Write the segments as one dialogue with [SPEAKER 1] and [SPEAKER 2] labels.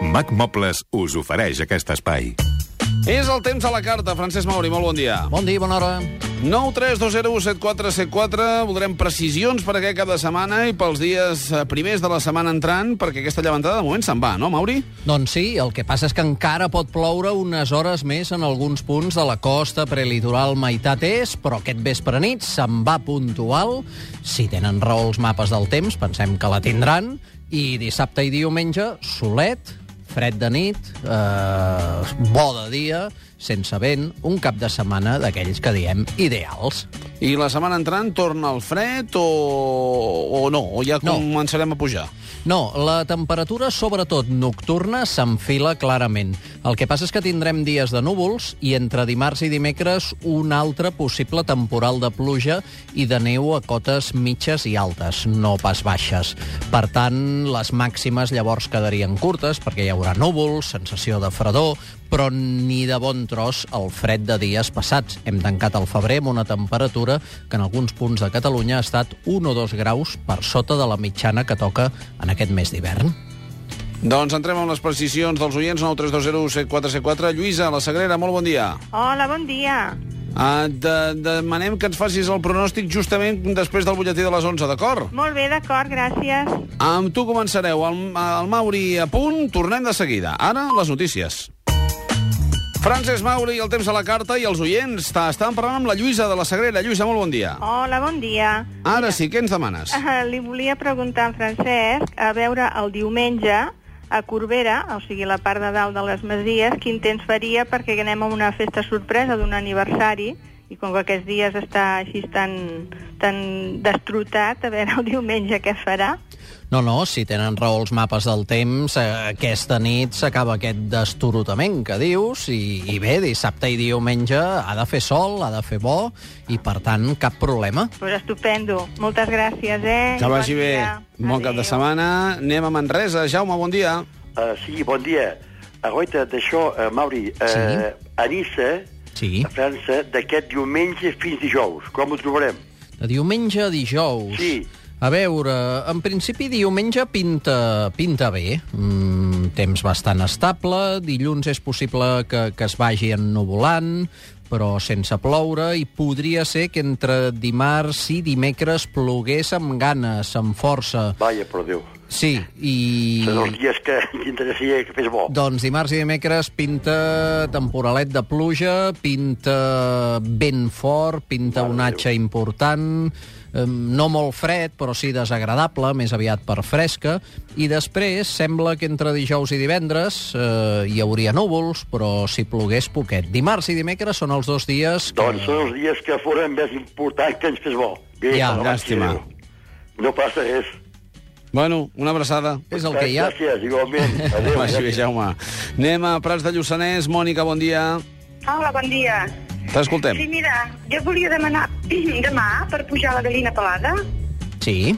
[SPEAKER 1] Mac Mobles us ofereix aquest espai.
[SPEAKER 2] És el temps a la carta, Francesc Mauri, molt bon dia.
[SPEAKER 3] Bon dia, bona hora.
[SPEAKER 2] 9 3 2 0 7 4 7 4 Voldrem precisions per aquest cap de setmana i pels dies eh, primers de la setmana entrant, perquè aquesta llevantada de moment se'n va, no, Mauri?
[SPEAKER 3] Doncs sí, el que passa és que encara pot ploure unes hores més en alguns punts de la costa prelitoral meitat est, però aquest vespre nit se'n va puntual. Si tenen raó els mapes del temps, pensem que la tindran. I dissabte i diumenge, solet, fred de nit, eh, bo de dia, sense vent, un cap de setmana d'aquells que diem ideals.
[SPEAKER 2] I la setmana entrant torna el fred o, o no? O ja
[SPEAKER 3] No.
[SPEAKER 2] començarem a pujar?
[SPEAKER 3] No, la temperatura, sobretot nocturna, s'enfila clarament. El que passa és que tindrem dies de núvols i entre dimarts i dimecres un altre possible temporal de pluja i de neu a cotes mitges i altes, no pas baixes. Per tant, les màximes llavors quedarien curtes perquè hi haurà núvols, sensació de fredor, però ni de bon tros el fred de dies passats. Hem tancat el febrer amb una temperatura que en alguns punts de Catalunya ha estat 1 o 2 graus per sota de la mitjana que toca en aquest mes d'hivern.
[SPEAKER 2] Doncs entrem amb les precisions dels oients 9 3 2 0 7 4 7 4 Lluïsa, la Sagrera, molt bon dia.
[SPEAKER 4] Hola, bon dia.
[SPEAKER 2] Uh, de, demanem que ens facis el pronòstic justament després del butlletí de les 11, d'acord?
[SPEAKER 4] Molt bé, d'acord, gràcies.
[SPEAKER 2] Amb tu començareu. El, el Mauri a punt, tornem de seguida. Ara, les notícies. Francesc Mauri, el temps a la carta i els oients. Està- Estàvem parlant amb la Lluïsa de la Sagrera. Lluïsa, molt bon dia.
[SPEAKER 4] Hola, bon dia.
[SPEAKER 2] Ara sí, què ens demanes?
[SPEAKER 4] Eh, Li volia preguntar en Francesc a veure el diumenge a Corbera, o sigui, la part de dalt de les Masies, quin temps faria perquè anem a una festa sorpresa d'un aniversari i com que aquests dies està així tan, tan destrotat, a veure el diumenge què farà.
[SPEAKER 3] No, no, si tenen raó els mapes del temps, eh, aquesta nit s'acaba aquest destorotament que dius i, i bé, dissabte i diumenge ha de fer sol, ha de fer bo i per tant cap problema.
[SPEAKER 4] Doncs pues estupendo. Moltes gràcies, eh?
[SPEAKER 2] Que
[SPEAKER 4] I
[SPEAKER 2] vagi
[SPEAKER 4] bon
[SPEAKER 2] bé.
[SPEAKER 4] dia.
[SPEAKER 2] Bon cap de
[SPEAKER 4] Adéu.
[SPEAKER 2] setmana. Anem a Manresa. Jaume, bon dia.
[SPEAKER 5] Uh, sí, bon dia. A goita d'això, uh, Mauri, uh,
[SPEAKER 3] Sí.
[SPEAKER 5] a Niça,
[SPEAKER 3] Sí.
[SPEAKER 5] a França, d'aquest diumenge fins dijous, com ho trobarem?
[SPEAKER 3] De diumenge a dijous.
[SPEAKER 5] Sí.
[SPEAKER 3] A veure, en principi diumenge pinta, pinta bé, mm, temps bastant estable, dilluns és possible que, que es vagi ennuvolant, però sense ploure, i podria ser que entre dimarts i dimecres plogués amb ganes, amb força.
[SPEAKER 5] Vaja, per Déu.
[SPEAKER 3] Sí, i...
[SPEAKER 5] Són els dies que t'interessaria que fes bo.
[SPEAKER 3] Doncs dimarts i dimecres pinta temporalet de pluja, pinta vent fort, pinta un atxa important, eh, no molt fred, però sí desagradable, més aviat per fresca, i després sembla que entre dijous i divendres eh, hi hauria núvols, però si plogués poquet. Dimarts i dimecres són els dos dies que...
[SPEAKER 5] Doncs són els dies que foren més important que ens fes bo. Bé,
[SPEAKER 3] Ja,
[SPEAKER 5] per la
[SPEAKER 2] llàstima.
[SPEAKER 5] mare de Déu. No passa res.
[SPEAKER 2] Bueno, una abraçada.
[SPEAKER 3] és el que hi ha.
[SPEAKER 5] Gràcies, igualment. Adéu.
[SPEAKER 2] Vagi bé, Jaume. Anem a Prats de Lluçanès. Mònica, bon dia.
[SPEAKER 6] Hola, bon dia. Sí,
[SPEAKER 2] T'escoltem.
[SPEAKER 6] mira, jo volia demanar demà per pujar la gallina pelada.
[SPEAKER 3] Sí.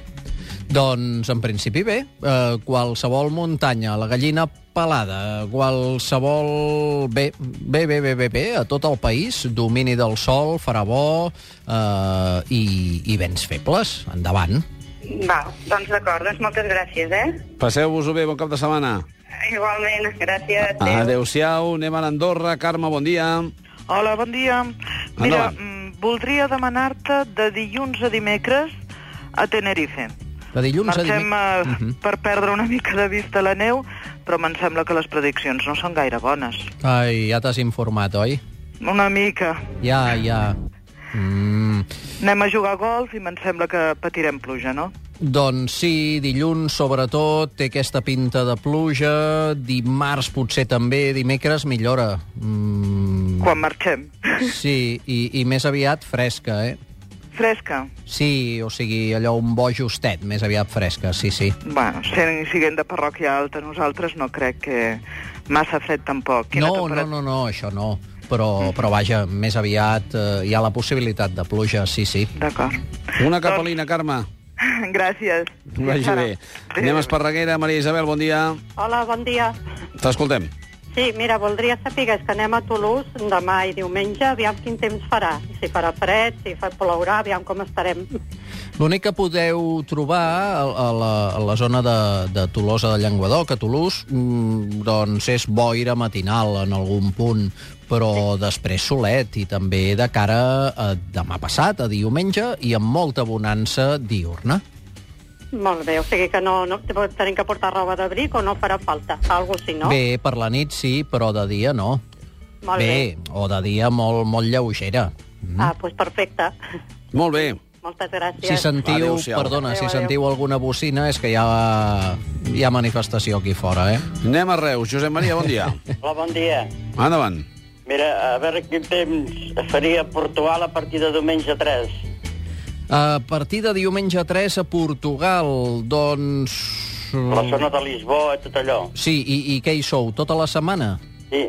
[SPEAKER 3] Doncs, en principi, bé. Eh, qualsevol muntanya, la gallina pelada, qualsevol... Bé, bé, bé, bé, bé, bé, a tot el país, domini del sol, farà bo eh, i, i vents febles. Endavant.
[SPEAKER 6] Val, doncs d'acord, doncs moltes gràcies, eh?
[SPEAKER 2] Passeu-vos-ho bé, bon cap de setmana.
[SPEAKER 6] Igualment, gràcies.
[SPEAKER 2] Adéu-siau. Anem a Andorra. Carme, bon dia.
[SPEAKER 7] Hola, bon dia. Mira,
[SPEAKER 2] Endavant.
[SPEAKER 7] mm, voldria demanar-te de dilluns a dimecres a Tenerife.
[SPEAKER 3] De dilluns a Mhm.
[SPEAKER 7] Marxem eh.
[SPEAKER 3] dimecres...
[SPEAKER 7] a per perdre una mica de vista la neu, però me'n sembla que les prediccions no són gaire bones.
[SPEAKER 3] Ai, ja t'has informat, oi?
[SPEAKER 7] Una mica.
[SPEAKER 3] Ja, ja... Mm.
[SPEAKER 7] Anem a jugar a golf i me'n sembla que patirem pluja, no?
[SPEAKER 3] Doncs sí, dilluns sobretot té aquesta pinta de pluja, dimarts potser també, dimecres millora. Mm,
[SPEAKER 7] Quan marxem.
[SPEAKER 3] Sí, i, i més aviat fresca, eh?
[SPEAKER 7] Fresca.
[SPEAKER 3] Sí, o sigui, allò un bo justet, més aviat fresca, sí, sí.
[SPEAKER 7] Bueno, sent siguent de parròquia alta, nosaltres no crec que massa fred tampoc. Quina
[SPEAKER 3] No, no,
[SPEAKER 7] temperat-
[SPEAKER 3] no, no, això no. Però, però vaja, més aviat eh, hi ha la possibilitat de pluja, sí, sí.
[SPEAKER 7] D'acord.
[SPEAKER 2] Una capelina, Carme.
[SPEAKER 7] Gràcies.
[SPEAKER 2] Que Vagi bé. Anem a Esparreguera. Maria Isabel, bon dia.
[SPEAKER 8] Hola, bon dia.
[SPEAKER 2] T'escoltem.
[SPEAKER 8] Sí, mira, voldria saber que anem a Toulouse demà i diumenge, aviam quin temps farà. Si farà fred, si fa plourà, aviam com estarem.
[SPEAKER 3] L'únic que podeu trobar a, a, la, a la zona de, de Tolosa de Llenguadoc, a Toulouse, mm, doncs és boira matinal en algun punt, però després solet i també de cara a demà passat, a diumenge, i amb molta bonança diurna.
[SPEAKER 8] Molt bé, o sigui que no, no tenim que portar roba d'abric o no farà falta, algo així, no?
[SPEAKER 3] Bé, per la nit sí, però de dia no.
[SPEAKER 8] Molt bé.
[SPEAKER 3] bé. o de dia molt, molt lleugera.
[SPEAKER 8] Ah, doncs pues perfecte.
[SPEAKER 2] Molt bé.
[SPEAKER 8] Moltes gràcies.
[SPEAKER 3] Si sentiu,
[SPEAKER 2] Adéu-siau.
[SPEAKER 3] perdona, si
[SPEAKER 8] Adéu, adéu.
[SPEAKER 3] sentiu alguna bocina és que hi ha, hi ha manifestació aquí fora, eh?
[SPEAKER 2] Anem a Reus. Josep Maria, bon dia.
[SPEAKER 9] Hola, bon dia.
[SPEAKER 2] Endavant.
[SPEAKER 9] Mira, a veure quin temps faria Portugal a partir de diumenge 3.
[SPEAKER 3] A partir de diumenge 3 a Portugal, doncs...
[SPEAKER 9] A la zona de Lisboa i tot allò.
[SPEAKER 3] Sí, i, i què hi sou? Tota la setmana?
[SPEAKER 9] Sí.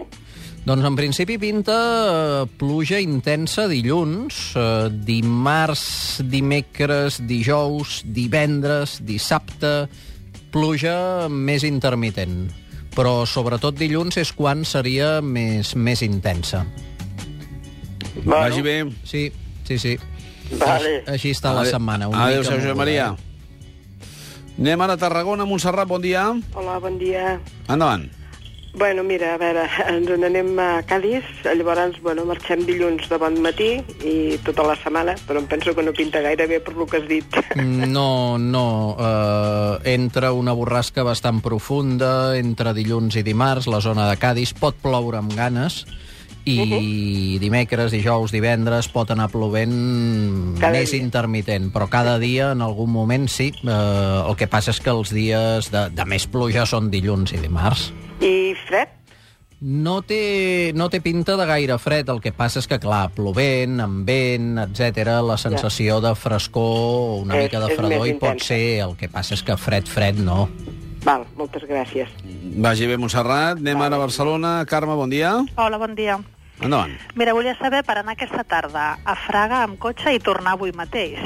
[SPEAKER 3] Doncs en principi pinta eh, pluja intensa dilluns, eh, dimarts, dimecres, dijous, divendres, dissabte, pluja més intermitent. Però sobretot dilluns és quan seria més, més intensa.
[SPEAKER 2] Bueno. Vagi bé.
[SPEAKER 3] Sí, sí, sí.
[SPEAKER 9] Vale.
[SPEAKER 3] Així està Tota la setmana. una mica
[SPEAKER 2] Adéu-siau, Josep
[SPEAKER 3] moguda.
[SPEAKER 2] Maria. Anem ara a Tarragona, Montserrat, bon dia.
[SPEAKER 10] Hola, bon dia.
[SPEAKER 2] Endavant.
[SPEAKER 10] Bueno, mira, a veure, ens n'anem a Cádiz, llavors, bueno, marxem dilluns de bon matí i tota la setmana, però em penso que no pinta gaire bé per lo que has dit.
[SPEAKER 3] No, no. Uh, entra una borrasca bastant profunda, entre dilluns i dimarts, la zona de Cádiz pot ploure amb ganes, i uh
[SPEAKER 10] Uh-huh.
[SPEAKER 3] -huh. dimecres, dijous, divendres pot anar plovent
[SPEAKER 10] Cada
[SPEAKER 3] més
[SPEAKER 10] dia.
[SPEAKER 3] intermitent, però cada dia en algun moment sí. Uh, el que passa és que els dies de, de més pluja són dilluns i dimarts.
[SPEAKER 10] I fred?
[SPEAKER 3] No té, no té pinta de gaire fred, el que passa és que, clar, plovent, amb vent, etc, la sensació de frescor, una
[SPEAKER 10] És-
[SPEAKER 3] mica de
[SPEAKER 10] és
[SPEAKER 3] fredor
[SPEAKER 10] més
[SPEAKER 3] hi pot
[SPEAKER 10] intensa.
[SPEAKER 3] ser, el que passa és que fred, fred, no.
[SPEAKER 10] Val, moltes gràcies.
[SPEAKER 2] Vagi bé, Montserrat. Anem ara a Barcelona. Carme, bon dia.
[SPEAKER 4] Hola, bon dia.
[SPEAKER 2] Endavant.
[SPEAKER 4] Mira, volia saber per anar aquesta tarda a Fraga amb cotxe i tornar avui mateix.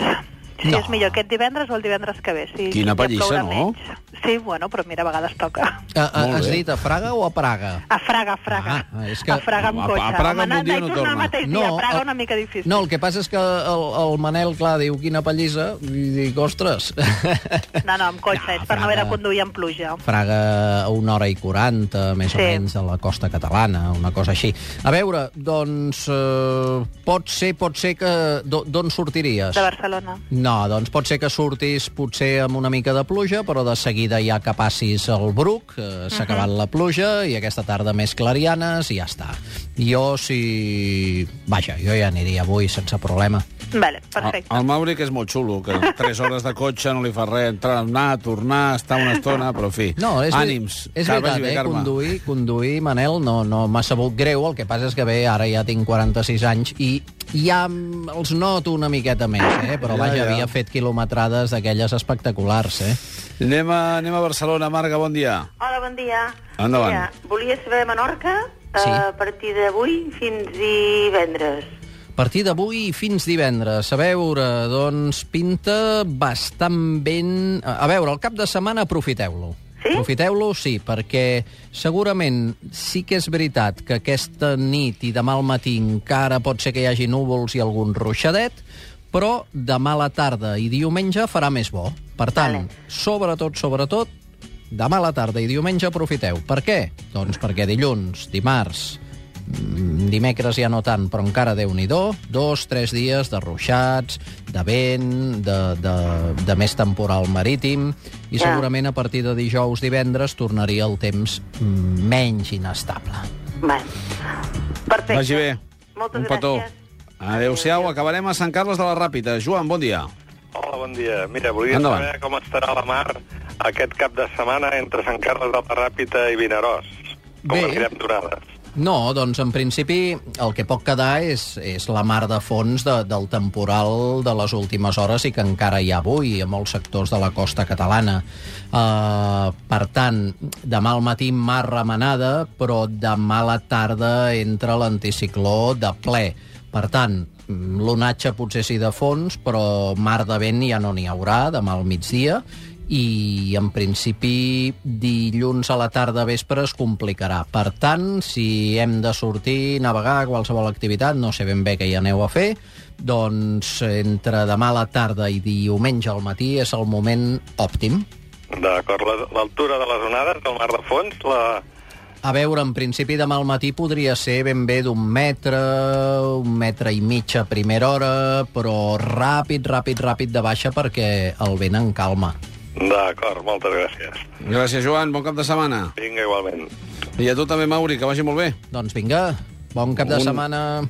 [SPEAKER 4] Si
[SPEAKER 3] No.
[SPEAKER 4] no. és millor aquest divendres o el divendres que ve. Si
[SPEAKER 2] Quina pallissa,
[SPEAKER 4] plourà
[SPEAKER 2] no?
[SPEAKER 4] Menys. Sí, bueno, però mira, a vegades toca.
[SPEAKER 3] A, a,
[SPEAKER 2] Molt
[SPEAKER 3] Eh, has
[SPEAKER 2] bé.
[SPEAKER 3] dit a Fraga o a Praga?
[SPEAKER 4] A Fraga, a Fraga.
[SPEAKER 3] Ah, és que-
[SPEAKER 4] A Fraga amb
[SPEAKER 2] A- a
[SPEAKER 4] cotxe.
[SPEAKER 2] Fraga amb
[SPEAKER 4] Home,
[SPEAKER 2] un
[SPEAKER 4] anar-
[SPEAKER 2] dia
[SPEAKER 4] anar i
[SPEAKER 2] no
[SPEAKER 4] tornar
[SPEAKER 2] torna.
[SPEAKER 4] el mateix dia a Praga
[SPEAKER 3] el-
[SPEAKER 4] una mica difícil.
[SPEAKER 3] No, el que passa és que el, el Manel, clar, diu quina pallissa, i dic, ostres...
[SPEAKER 4] No, no, amb cotxe,
[SPEAKER 3] No,
[SPEAKER 4] és per no haver
[SPEAKER 3] Fraga.
[SPEAKER 4] de conduir amb pluja.
[SPEAKER 3] Fraga a una hora i quaranta, més sí. o
[SPEAKER 4] Sí.
[SPEAKER 3] menys, a la costa catalana, una cosa així. A veure, doncs, eh, pot ser, pot ser que... d'o- D'on sortiries?
[SPEAKER 4] De Barcelona.
[SPEAKER 3] No, doncs pot ser que surtis potser amb una mica de pluja, però de seguida ja que passis el bruc, eh, s'ha acabat la pluja i aquesta tarda més clarianes i ja està. Jo si... Vaja, jo ja aniria avui sense problema.
[SPEAKER 4] Vale,
[SPEAKER 2] El,
[SPEAKER 4] perfecte.
[SPEAKER 2] el Mauri, que és molt xulo, que 3 hores de cotxe no li fa res, entrar, anar, tornar, estar una estona, però en fi.
[SPEAKER 3] No, és, veri-
[SPEAKER 2] Ànims.
[SPEAKER 3] és
[SPEAKER 2] Carme,
[SPEAKER 3] veritat,
[SPEAKER 2] vagi bé,
[SPEAKER 3] eh?
[SPEAKER 2] Carme.
[SPEAKER 3] Conduir, conduir, Manel, no, no m'ha sabut greu. El que passa és que bé, ara ja tinc 46 anys i ja mm, els noto una miqueta més, eh? Però
[SPEAKER 2] Ja,
[SPEAKER 3] vaja,
[SPEAKER 2] ja.
[SPEAKER 3] havia fet quilometrades d'aquelles espectaculars, eh?
[SPEAKER 2] Anem a, anem a Barcelona. Marga, bon dia.
[SPEAKER 11] Hola, bon dia.
[SPEAKER 2] Endavant.
[SPEAKER 11] Mira, volia saber Menorca
[SPEAKER 3] Sí.
[SPEAKER 11] sí. a partir d'avui fins divendres.
[SPEAKER 3] A partir d'avui fins divendres. A veure, doncs pinta bastant ben... A veure, el cap de setmana aprofiteu-lo.
[SPEAKER 11] Sí?
[SPEAKER 3] Aprofiteu-lo, sí, perquè segurament sí que és veritat que aquesta nit i demà al matí encara pot ser que hi hagi núvols i algun ruixadet, però demà a la tarda i diumenge farà més bo. Per tant,
[SPEAKER 11] Vale.
[SPEAKER 3] sobretot, sobretot, demà a la tarda i diumenge aprofiteu. Per què? Doncs perquè dilluns, dimarts, mm, dimecres ja no tant, però encara déu nhi -do, dos, tres dies de ruixats, de vent, de, de, de més temporal marítim, i
[SPEAKER 11] Ja.
[SPEAKER 3] segurament a partir de dijous, divendres, tornaria el temps mm, menys inestable.
[SPEAKER 2] Ah.
[SPEAKER 11] Bé. Perfecte.
[SPEAKER 2] Vagi bé.
[SPEAKER 11] Moltes
[SPEAKER 2] Un petó.
[SPEAKER 11] gràcies.
[SPEAKER 2] Adéu-siau. Acabarem a Sant Carles de la Ràpita. Joan, bon dia.
[SPEAKER 12] Hola, bon dia. Mira, volia
[SPEAKER 2] Endavant.
[SPEAKER 12] saber com estarà la mar aquest cap de setmana entre Sant Carles de la Ràpita i Vinaròs. Com
[SPEAKER 3] Bé.
[SPEAKER 12] anirem durades?
[SPEAKER 3] No, doncs en principi el que pot quedar és, és la mar de fons de, del temporal de les últimes hores i que encara hi ha avui a molts sectors de la costa catalana. Uh, per tant, demà al matí mar remenada, però demà a la tarda entra l'anticicló de ple. Per tant, mm, l'onatge potser sí de fons, però mar de vent ja no n'hi haurà demà al migdia i en principi dilluns a la tarda vespre es complicarà. Per tant, si hem de sortir, navegar, qualsevol activitat, no sé ben bé què hi aneu a fer, doncs entre demà a la tarda i diumenge al matí és el moment òptim.
[SPEAKER 12] D'acord, la- l'altura de les onades del mar de fons, la...
[SPEAKER 3] A veure, en principi demà al matí podria ser ben bé d'un metre, un metre i mig a primera hora, però ràpid, ràpid, ràpid de baixa perquè el vent en calma.
[SPEAKER 12] D'acord, moltes gràcies.
[SPEAKER 2] Gràcies, Joan. Bon cap de setmana.
[SPEAKER 12] Vinga, igualment.
[SPEAKER 2] I a tu també, Mauri, que vagi molt bé.
[SPEAKER 3] Doncs vinga, bon cap de
[SPEAKER 2] Un-
[SPEAKER 3] setmana.